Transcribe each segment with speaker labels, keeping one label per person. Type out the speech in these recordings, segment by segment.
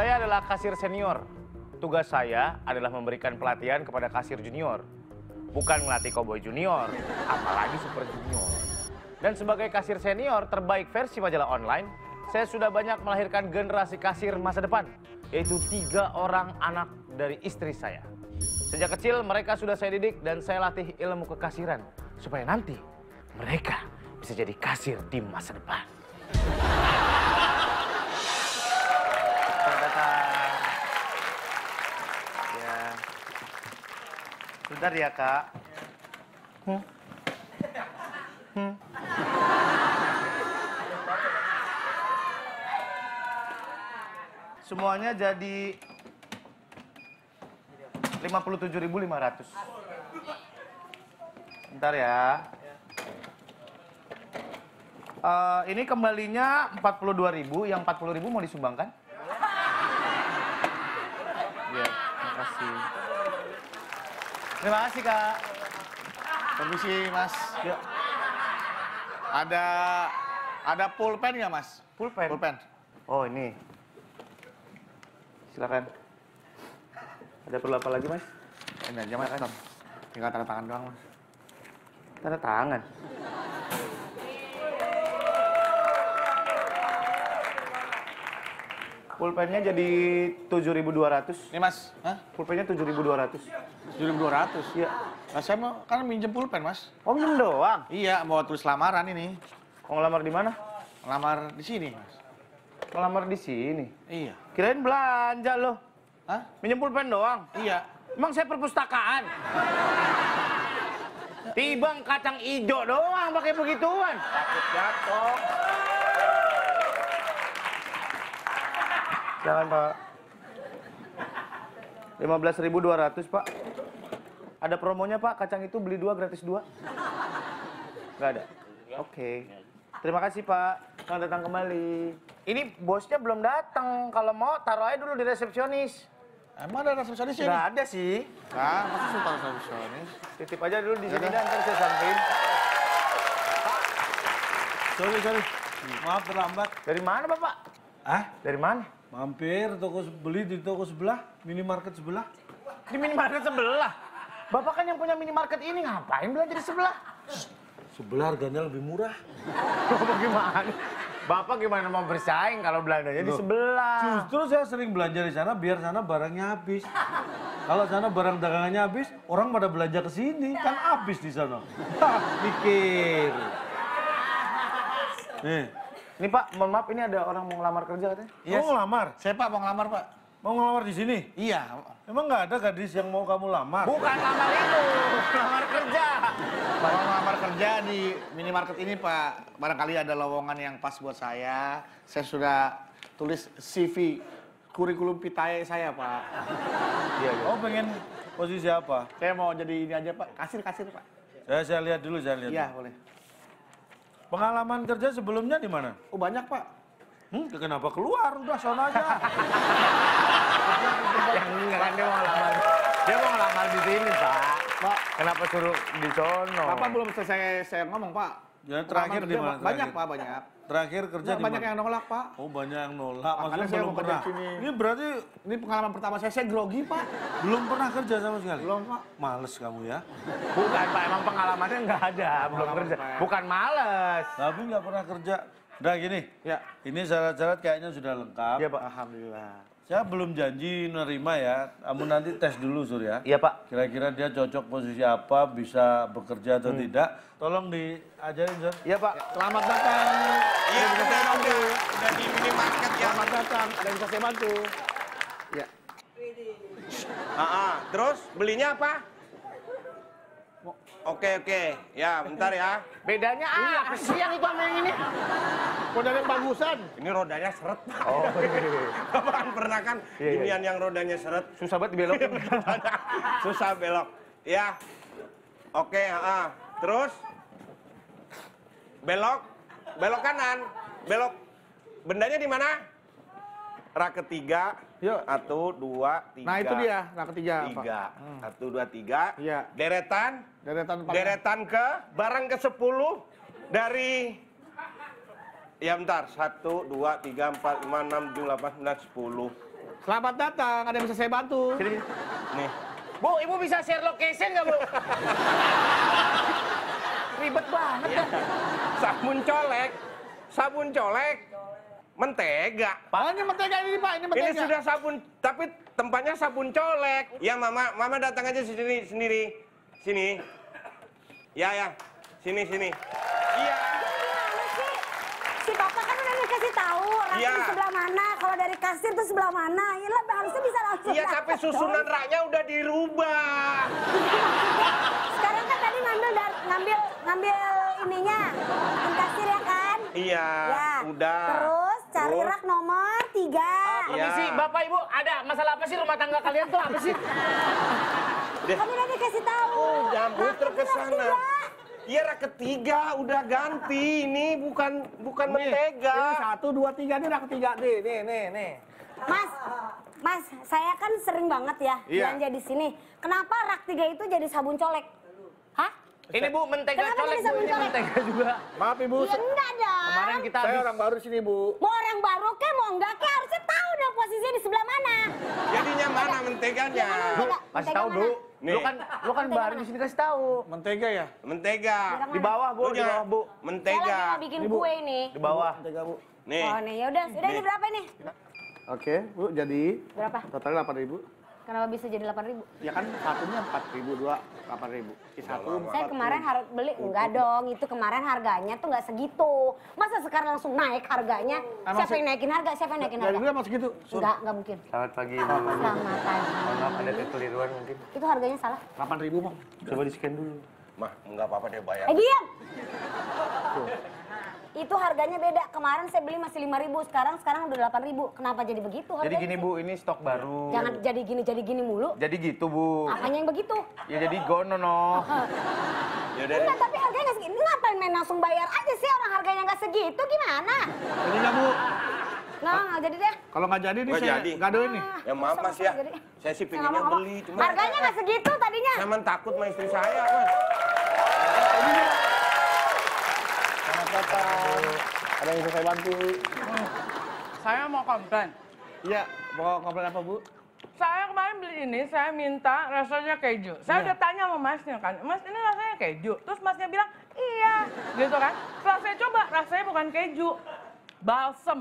Speaker 1: adalah kasir senior. Tugas saya adalah memberikan pelatihan kepada kasir junior. Bukan melatih cowboy junior, apalagi super junior. Dan sebagai kasir senior terbaik versi majalah online, saya sudah banyak melahirkan generasi kasir masa depan, yaitu tiga orang anak dari istri saya. Sejak kecil mereka sudah saya didik dan saya latih ilmu kekasiran, supaya nanti mereka bisa jadi kasir di masa depan.
Speaker 2: Selamat datang. Ya. Bentar ya, Kak. Semuanya jadi 57.500. Bentar ya. Eh, ini kembalinya 42.000, yang 40.000 mau disumbangkan? Iya, terima kasih.
Speaker 1: Terima kasih, Kak.
Speaker 2: Permisi, Mas.
Speaker 1: Ya,
Speaker 2: Ada ada pulpen nggak, Mas?
Speaker 1: pulpen.
Speaker 2: Pulpen.
Speaker 1: Oh, ini. Silakan. Ada perlu apa lagi, Mas?
Speaker 2: Ini aja, Mas. Tom. Tinggal tanda tangan doang, Mas.
Speaker 1: Tanda tangan. Pulpennya jadi 7.200.
Speaker 2: Ini, Mas. Hah?
Speaker 1: Pulpennya 7.200.
Speaker 2: 7.200.
Speaker 1: Iya.
Speaker 2: Mas, saya mau kan minjem pulpen, Mas.
Speaker 1: Oh, minjem doang.
Speaker 2: Iya, mau tulis lamaran ini.
Speaker 1: Mau ngelamar di mana?
Speaker 2: Lamar di sini, Mas.
Speaker 1: Ngelamar di sini.
Speaker 2: Iya.
Speaker 1: Kirain belanja loh.
Speaker 2: Hah?
Speaker 1: Minjem pulpen doang.
Speaker 2: Iya.
Speaker 1: Emang saya perpustakaan. Tibang kacang ijo doang pakai begituan.
Speaker 2: Takut jatuh.
Speaker 1: Jangan, Pak. 15.200, Pak. Ada promonya, Pak. Kacang itu beli dua, gratis dua. Nggak ada? Oke. Terima kasih, Pak. Selamat datang kembali. Ini bosnya belum datang. Kalau mau, taruh aja dulu di resepsionis.
Speaker 2: Emang ada resepsionis ini?
Speaker 1: Nggak ada sih.
Speaker 2: Nah, pasti sumpah resepsionis.
Speaker 1: Titip aja dulu di sini,
Speaker 2: Yaudah.
Speaker 1: dan ntar saya sampein.
Speaker 3: Sorry, sorry. Maaf terlambat.
Speaker 1: Dari mana, Bapak?
Speaker 3: Ah?
Speaker 1: Dari mana?
Speaker 3: Mampir toko se- beli di toko sebelah, minimarket sebelah.
Speaker 1: Di minimarket sebelah. Bapak kan yang punya minimarket ini ngapain belanja di sebelah?
Speaker 3: Sebelah harganya lebih murah.
Speaker 1: Bapak gimana? Bapak gimana mau bersaing kalau belanjanya di
Speaker 3: Loh,
Speaker 1: sebelah?
Speaker 3: Justru saya sering belanja di sana biar sana barangnya habis. Kalau sana barang dagangannya habis, orang pada belanja ke sini kan habis di sana. Hah, Mikir. Eh, Nih,
Speaker 1: Ini Pak, mohon maaf ini ada orang mau ngelamar kerja katanya.
Speaker 2: Yes.
Speaker 3: mau ngelamar?
Speaker 2: Saya, Pak, mau ngelamar, Pak.
Speaker 3: Mau ngelamar di sini?
Speaker 2: Iya.
Speaker 3: Emang nggak ada gadis yang mau kamu lamar?
Speaker 1: Bukan lamar itu, lamar kerja.
Speaker 2: Mau ngelamar kerja di minimarket ini, Pak. Barangkali ada lowongan yang pas buat saya. Saya sudah tulis CV kurikulum vitae saya, Pak.
Speaker 1: Iya, iya.
Speaker 3: Oh pengen posisi apa?
Speaker 2: Saya mau jadi ini aja, Pak. Kasir-kasir, Pak.
Speaker 3: Saya, saya lihat dulu, saya lihat.
Speaker 2: Iya,
Speaker 3: dulu.
Speaker 2: boleh.
Speaker 3: Pengalaman kerja sebelumnya di mana?
Speaker 2: Oh, banyak, Pak.
Speaker 3: Hmm, kenapa keluar? Udah sana aja.
Speaker 1: Yang enggak kan dia mau ngelamar. Dia mau ngelamar di sini, Pak.
Speaker 2: Pak,
Speaker 1: Kenapa suruh di sono?
Speaker 2: Bapak belum selesai saya ngomong, Pak.
Speaker 3: Ya, terakhir
Speaker 2: Pengalaman kerja, Pak.
Speaker 3: di mana
Speaker 2: Banyak,
Speaker 3: terakhir?
Speaker 2: Pak, banyak.
Speaker 3: Terakhir kerja di
Speaker 2: banyak
Speaker 3: mana?
Speaker 2: yang nolak, Pak.
Speaker 3: Oh banyak yang nolak, maksudnya
Speaker 2: Makanya saya
Speaker 3: belum
Speaker 2: mau kerja
Speaker 3: pernah.
Speaker 2: sini.
Speaker 3: Ini berarti
Speaker 2: Ini pengalaman pertama saya, saya grogi, Pak.
Speaker 3: belum pernah kerja sama sekali.
Speaker 2: Belum, Pak.
Speaker 3: Males kamu ya.
Speaker 1: Bukan, Pak. Emang pengalamannya enggak ada, belum
Speaker 2: Pengalaman,
Speaker 1: kerja.
Speaker 2: Pak.
Speaker 1: Bukan males.
Speaker 3: Tapi nggak pernah kerja. Udah gini,
Speaker 2: Ya.
Speaker 3: ini syarat-syarat kayaknya sudah lengkap.
Speaker 1: Iya, Pak.
Speaker 2: Alhamdulillah.
Speaker 3: Saya belum janji nerima ya. Kamu nanti tes dulu
Speaker 2: Ya.
Speaker 3: Surya.
Speaker 1: Iya, Pak.
Speaker 3: Kira-kira dia cocok posisi apa, bisa bekerja
Speaker 2: Hmm.
Speaker 3: atau tidak. Tolong diajarin Sur.
Speaker 2: Ya.
Speaker 1: Iya, Pak.
Speaker 2: Selamat datang.
Speaker 4: Iya,
Speaker 2: Ada yang bisa
Speaker 4: udah,
Speaker 2: saya bantu.
Speaker 4: udah, udah di minimarket ya.
Speaker 2: Selamat datang. Ada yang bisa saya bantu. Ya.
Speaker 4: Ah, ah. terus belinya apa? Oke, oke. Ya, bentar ya.
Speaker 1: Bedanya apa sih yang itu sama yang ini?
Speaker 2: Iya. Modal yang bagusan.
Speaker 4: Ini rodanya seret.
Speaker 1: Oh, iya.
Speaker 4: Bapak kan pernah kan
Speaker 1: Iya, iya.
Speaker 4: ginian yang rodanya seret.
Speaker 1: susah banget dibelokin.
Speaker 4: Susah belok. Ya. Oke, ah, ah. Terus belok, belok kanan, belok. Bendanya di mana? Rak ketiga,
Speaker 2: Yuk.
Speaker 4: satu, dua, tiga.
Speaker 2: Iya. Nah itu dia, nah ketiga. Pak. Hmm.
Speaker 4: tiga satu dua tiga
Speaker 2: Iya.
Speaker 4: deretan
Speaker 2: Deretan paling-
Speaker 4: deretan ke barang ke sepuluh dari ya bentar satu dua tiga empat lima enam tujuh delapan sembilan sepuluh
Speaker 2: Selamat datang, ada yang bisa saya bantu.
Speaker 1: Sini, sini. Bu, ibu bisa share location nggak, Bu? Ribet banget.
Speaker 2: Iya.
Speaker 4: Sabun colek, sabun colek, mentega.
Speaker 2: Pak, ini mentega ini Pak, ini mentega.
Speaker 4: Ini sudah sabun, tapi tempatnya sabun colek. Ya mama, mama datang aja sendiri, sendiri, sini. Ya ya, sini sini. Iya.
Speaker 5: Gimana sih? Si papa kan udah dikasih tahu raknya
Speaker 4: Iya.
Speaker 5: di sebelah mana, kalau dari kasir tuh sebelah mana. Ya lah, harusnya bisa langsung.
Speaker 4: Iya, tapi
Speaker 5: dapet dong.
Speaker 4: susunan raknya udah dirubah.
Speaker 5: Sekarang kan tadi ngambil dar- ngambil ngambil ininya, yang kasir ya kan?
Speaker 4: Iya,
Speaker 5: Ya.
Speaker 4: udah.
Speaker 5: Terus cari
Speaker 4: Terus?
Speaker 5: rak nomor tiga.
Speaker 1: Permisi,
Speaker 2: Iya.
Speaker 4: Ya.
Speaker 1: Bapak, Ibu, ada masalah apa sih rumah tangga kalian tuh apa sih?
Speaker 5: Kan udah dikasih tahu.
Speaker 4: Oh, jambut
Speaker 5: Raknya tuh rak
Speaker 4: terkesana.
Speaker 5: tiga.
Speaker 4: Iya, rak ketiga udah ganti. Ini bukan bukan mentega.
Speaker 2: Ini satu, dua, tiga, ini udah ketiga nih, nih, nih, nih.
Speaker 5: Mas, Mas, saya kan sering banget ya
Speaker 2: Iya.
Speaker 5: belanja di sini. Kenapa rak tiga itu jadi sabun colek? Hah?
Speaker 1: Ini Bu mentega
Speaker 5: Kenapa
Speaker 1: colek,
Speaker 5: bisa
Speaker 1: Bu, ini
Speaker 5: mencolek?
Speaker 1: mentega juga.
Speaker 2: Maaf Ibu,
Speaker 5: Ya
Speaker 4: Iya.
Speaker 2: se-
Speaker 5: enggak dong.
Speaker 1: Kemarin kita
Speaker 2: saya
Speaker 1: habis
Speaker 2: orang baru di sini Bu.
Speaker 5: Mau orang baru kek, mau enggak kek, harusnya tahu dong posisinya di sebelah mana.
Speaker 4: Jadinya mana menteganya?
Speaker 1: Bu, kasih tahu, Bu.
Speaker 4: Nih.
Speaker 1: Lu kan lu kan baru di sini kasih tahu.
Speaker 2: Mentega ya?
Speaker 4: Mentega.
Speaker 1: Di bawah, Bu,
Speaker 4: Lu
Speaker 1: di
Speaker 4: jangan-
Speaker 1: bawah, Bu.
Speaker 5: Saya lagi
Speaker 4: Mentega.
Speaker 5: mau bikin kue ini.
Speaker 1: Di bawah.
Speaker 2: Mentega Bu.
Speaker 4: Nih.
Speaker 5: Oh nih, yaudah. Udah ini berapa ini?
Speaker 2: Oke, Bu, jadi
Speaker 5: Berapa?
Speaker 2: totalnya 8 ribu.
Speaker 5: Kenapa bisa jadi 8 ribu?
Speaker 2: Ya kan satunya 4 ribu, dua 8 ribu. Satu,
Speaker 5: Saya kemarin harus beli, enggak dong. Itu kemarin harganya tuh enggak segitu. Masa sekarang langsung naik harganya?
Speaker 1: Ah,
Speaker 2: Emang
Speaker 5: Siapa yang naikin harga? Siapa yang naikin
Speaker 2: dari
Speaker 5: harga?
Speaker 2: dulu emang segitu. Sur,
Speaker 5: Enggak, enggak mungkin.
Speaker 1: Selamat pagi,
Speaker 5: Selamat pagi.
Speaker 1: ada kekeliruan mungkin.
Speaker 5: Itu harganya salah.
Speaker 2: 8 ribu, Bang.
Speaker 1: Coba di-scan dulu.
Speaker 4: Mah, nggak apa-apa deh ya. bayar.
Speaker 5: Eh diam! Itu harganya beda. Kemarin saya beli masih 5.000, sekarang sekarang udah 8.000. Kenapa jadi begitu
Speaker 1: Jadi
Speaker 5: harganya?
Speaker 1: gini, Bu, ini stok baru.
Speaker 5: Jangan jadi gini, jadi gini mulu.
Speaker 1: Jadi gitu, Bu.
Speaker 5: Apanya yang begitu?
Speaker 1: Ya jadi gono no.
Speaker 4: Ya udah deh.
Speaker 5: Enggak, tapi harganya nggak segini. Ngapain main langsung bayar aja sih orang harganya nggak segitu gimana?
Speaker 2: Jadi nggak, Bu?
Speaker 5: Nah, nggak jadi deh.
Speaker 2: Kalau nggak Oh, jadi nih
Speaker 4: Nggak
Speaker 2: saya
Speaker 4: jadi.
Speaker 2: nggak ada ini.
Speaker 5: Ah,
Speaker 4: Ya maaf
Speaker 5: sama
Speaker 4: mas
Speaker 5: sekali
Speaker 4: ya.
Speaker 5: jadi.
Speaker 4: Saya sih
Speaker 5: Nggak
Speaker 4: pinginnya
Speaker 5: ngomong-ngomong.
Speaker 4: beli cuma
Speaker 5: Harganya nggak segitu tadinya.
Speaker 4: saya emang takut sama istri saya mas.
Speaker 2: Selamat datang. Ada yang bisa saya bantu?
Speaker 6: Saya mau komplain.
Speaker 2: Iya, mau komplain apa, Bu?
Speaker 6: Saya kemarin beli ini, saya minta rasanya keju. Saya udah tanya sama masnya kan, mas ini rasanya keju. Terus masnya bilang, iya. Gitu kan. Setelah saya coba, rasanya bukan keju. Balsem.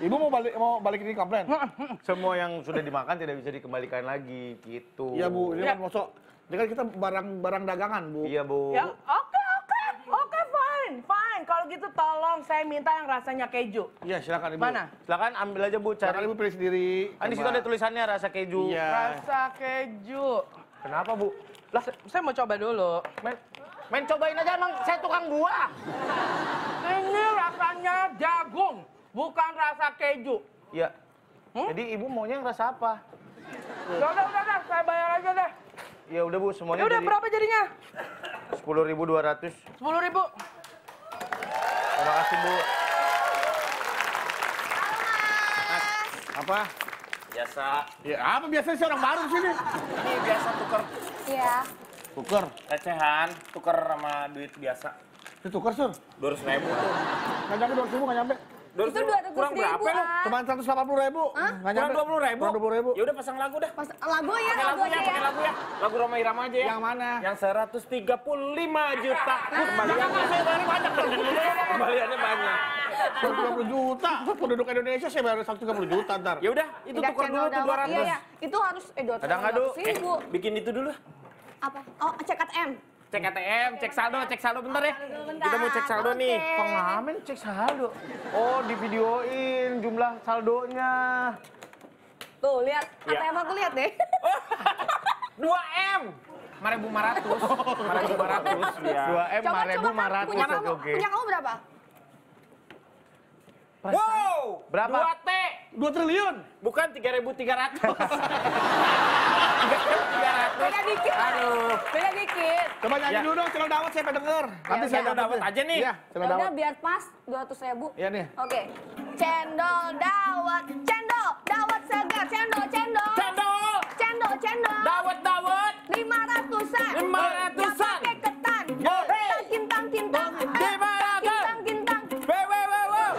Speaker 2: Ibu mau balik mau balik ini komplain?
Speaker 1: Semua yang sudah dimakan tidak bisa dikembalikan lagi gitu.
Speaker 2: Iya, Bu. Ini
Speaker 6: Iya.
Speaker 2: kan masuk. Ini kan kita barang-barang dagangan, Bu.
Speaker 1: Iya, Bu.
Speaker 6: Ya, oke, oke. Oke, fine, fine. Kalau gitu tolong saya minta yang rasanya keju.
Speaker 2: Iya, silakan Ibu.
Speaker 6: Mana?
Speaker 1: Silakan ambil aja, Bu,
Speaker 2: Silakan
Speaker 1: cari.
Speaker 2: Ibu pilih sendiri.
Speaker 1: Kan di situ
Speaker 2: Coba.
Speaker 1: ada tulisannya rasa keju.
Speaker 2: Iya.
Speaker 6: Rasa keju.
Speaker 1: Kenapa, Bu? Lah, se-
Speaker 6: Saya mau coba dulu.
Speaker 1: men, men cobain aja emang saya tukang buah.
Speaker 6: Ini rasanya jagung, bukan rasa keju.
Speaker 1: Iya.
Speaker 6: Hmm?
Speaker 1: Jadi ibu maunya yang rasa apa?
Speaker 6: Udah, udah, udah, udah, saya bayar aja deh.
Speaker 1: Ya udah Bu, semuanya
Speaker 6: Ya udah
Speaker 1: dari
Speaker 6: berapa jadinya?
Speaker 1: 10.200.
Speaker 6: Sepuluh ribu.
Speaker 1: Terima kasih, Bu.
Speaker 2: Apa?
Speaker 4: Biasa.
Speaker 2: Ya, apa biasanya sih orang baru di sini?
Speaker 4: Ini biasa tuker
Speaker 5: Iya.
Speaker 2: Tuker.
Speaker 4: recehan, tuker sama duit biasa.
Speaker 2: Itu tuker, Sur.
Speaker 4: Dua ratus ribu tuh.
Speaker 2: Nggak nyampe 200 ribu, nggak nyampe.
Speaker 5: Itu dua ratus
Speaker 4: Kurang berapa
Speaker 5: ribu,
Speaker 4: lu?
Speaker 5: ah.
Speaker 2: Cuma 180 ribu.
Speaker 5: Hah?
Speaker 2: Nggak
Speaker 4: Kurang
Speaker 2: nyampe.
Speaker 4: dua puluh ribu.
Speaker 2: Kurang 20 ribu.
Speaker 4: Ya udah pasang lagu dah.
Speaker 5: Pas, lagu ya,
Speaker 4: Pakai
Speaker 5: lagu
Speaker 4: lagunya,
Speaker 5: aja
Speaker 4: pakai
Speaker 5: ya.
Speaker 4: lagu ya. Lagu Roma Irama aja ya.
Speaker 2: Yang mana?
Speaker 4: Yang 135 juta. Kembaliannya. Kembaliannya banyak.
Speaker 2: 120 juta. Penduduk Indonesia saya bayar 130 juta ntar.
Speaker 4: Ya udah, itu
Speaker 5: Tidak
Speaker 4: tuker dulu
Speaker 5: channel
Speaker 4: tuh
Speaker 5: dawah. Iya,
Speaker 4: 200.
Speaker 5: iya. Itu harus eh dua
Speaker 1: Kadang ngadu.
Speaker 5: ribu.
Speaker 4: Eh, Bikin itu dulu.
Speaker 5: Apa? Oh, cek ATM.
Speaker 4: Cek ATM, cek saldo, cek saldo bentar ya.
Speaker 5: Bentar,
Speaker 4: Kita mau cek saldo
Speaker 5: oke.
Speaker 4: nih.
Speaker 1: Pengamen cek saldo. Oh, di videoin jumlah saldonya.
Speaker 5: Tuh, lihat.
Speaker 4: Iya.
Speaker 5: ATM aku lihat deh.
Speaker 4: Eh, 2M. Mare Bu Maratus. Mare Bu Maratus.
Speaker 1: Iya. 2M
Speaker 5: Coba, coba,
Speaker 1: 5.000
Speaker 5: Kak, punya kamu,
Speaker 1: Oke, oke.
Speaker 5: punya kamu berapa?
Speaker 4: Wow.
Speaker 1: Berapa?
Speaker 4: 2T.
Speaker 2: 2 triliun.
Speaker 4: Bukan 3.300. 3.300.
Speaker 5: Beda dikit.
Speaker 4: Aduh.
Speaker 5: Beda dikit.
Speaker 2: Coba nyanyi
Speaker 4: Ya.
Speaker 2: dulu dong, celok dawet saya pengen denger. Nanti
Speaker 4: Ya,
Speaker 2: saya
Speaker 4: celok dawet aja nih.
Speaker 2: Iya, celok
Speaker 5: Yaudah
Speaker 2: dawet.
Speaker 5: biar pas 200 ribu.
Speaker 2: Iya nih.
Speaker 5: Oke. Cendol dawet, cendol dawet segar, cendol cendol.
Speaker 4: Cendol.
Speaker 5: Cendol cendol.
Speaker 4: Dawet dawet.
Speaker 5: Lima ratusan.
Speaker 4: Lima
Speaker 5: Yang
Speaker 4: ratusan.
Speaker 5: pakai ketan.
Speaker 4: Yo, hey.
Speaker 5: Kintang kintang kintang.
Speaker 4: Lima ratus.
Speaker 5: Kintang kintang.
Speaker 4: Wow wow wow wow.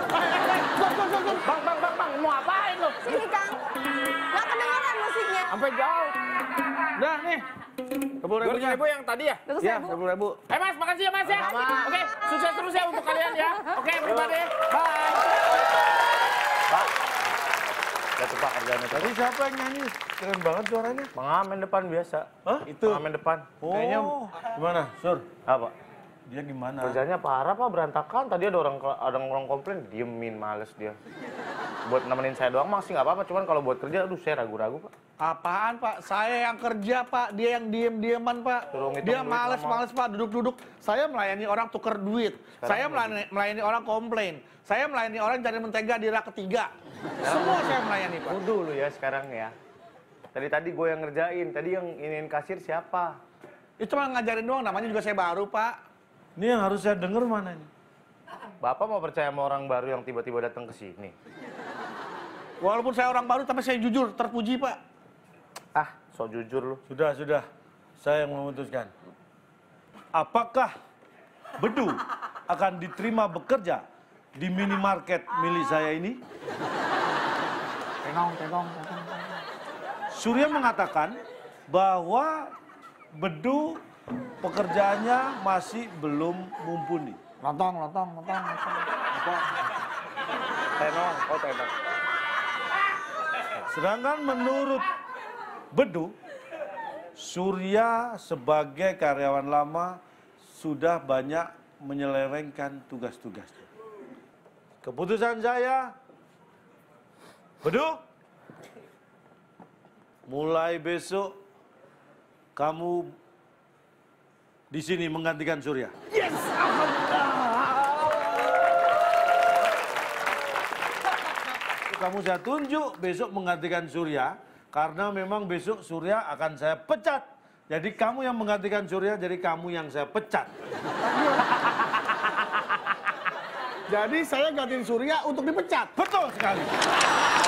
Speaker 1: Bang, bang, bang, bang, mau apain
Speaker 2: puluh ribunya.
Speaker 4: ribu yang tadi ya?
Speaker 7: Terus
Speaker 2: Iya,
Speaker 7: Bu.
Speaker 2: dua puluh ribu.
Speaker 4: Eh mas, makasih ya mas ya. Oke, sukses terus ya untuk kalian ya. Oke, terima deh. Bye.
Speaker 1: Gak suka kerjaannya tuh.
Speaker 3: Tadi siapa yang nyanyi? Keren banget suaranya.
Speaker 1: Pengamen depan biasa.
Speaker 3: Hah?
Speaker 1: Itu. Pengamen depan.
Speaker 3: Kayaknya
Speaker 1: Oh.
Speaker 3: gimana, Sur?
Speaker 1: Apa?
Speaker 3: Dia gimana?
Speaker 1: Kerjanya parah pak, berantakan. Tadi ada orang ada orang komplain, diemin, males dia. Buat nemenin saya doang masih nggak apa-apa. Cuman kalau buat kerja, aduh saya ragu-ragu pak.
Speaker 2: Apaan Pak? Saya yang kerja Pak, dia yang diem-dieman Pak.
Speaker 1: Suruh ngitung
Speaker 2: Dia
Speaker 1: duit
Speaker 2: males-males Pak, duduk-duduk. Saya melayani orang tuker duit. saya melayani, melayani orang komplain. Saya melayani orang cari mentega di rak ketiga.
Speaker 1: Ya.
Speaker 2: Semua saya melayani Pak.
Speaker 1: Kudu lu ya sekarang ya. Tadi tadi gue yang ngerjain. Tadi yang ingin kasir siapa?
Speaker 2: Itu cuma ngajarin doang, namanya juga saya baru Pak.
Speaker 3: Ini yang harus saya denger mana ini?
Speaker 1: Bapak mau percaya sama orang baru yang tiba-tiba datang ke sini?
Speaker 2: Walaupun saya orang baru, tapi saya jujur, terpuji Pak.
Speaker 1: Ah, so jujur lu.
Speaker 3: Sudah, sudah. Saya yang memutuskan. Apakah Bedu akan diterima bekerja di minimarket milik saya ini?
Speaker 2: Tenong, tenong.
Speaker 3: Surya mengatakan bahwa Bedu pekerjaannya masih belum mumpuni.
Speaker 2: Lontong, lontong, lontong. lontong.
Speaker 1: Tenong, oh tenong.
Speaker 3: Sedangkan menurut Bedu, Surya sebagai karyawan lama sudah banyak menyelewengkan tugas-tugasnya. Keputusan saya, Bedu, mulai besok kamu di sini menggantikan Surya. Kamu saya tunjuk besok menggantikan Surya karena memang besok Surya akan saya pecat. Jadi kamu yang menggantikan Surya, jadi kamu yang saya pecat.
Speaker 2: Jadi saya gantiin Surya untuk dipecat.
Speaker 3: Betul sekali.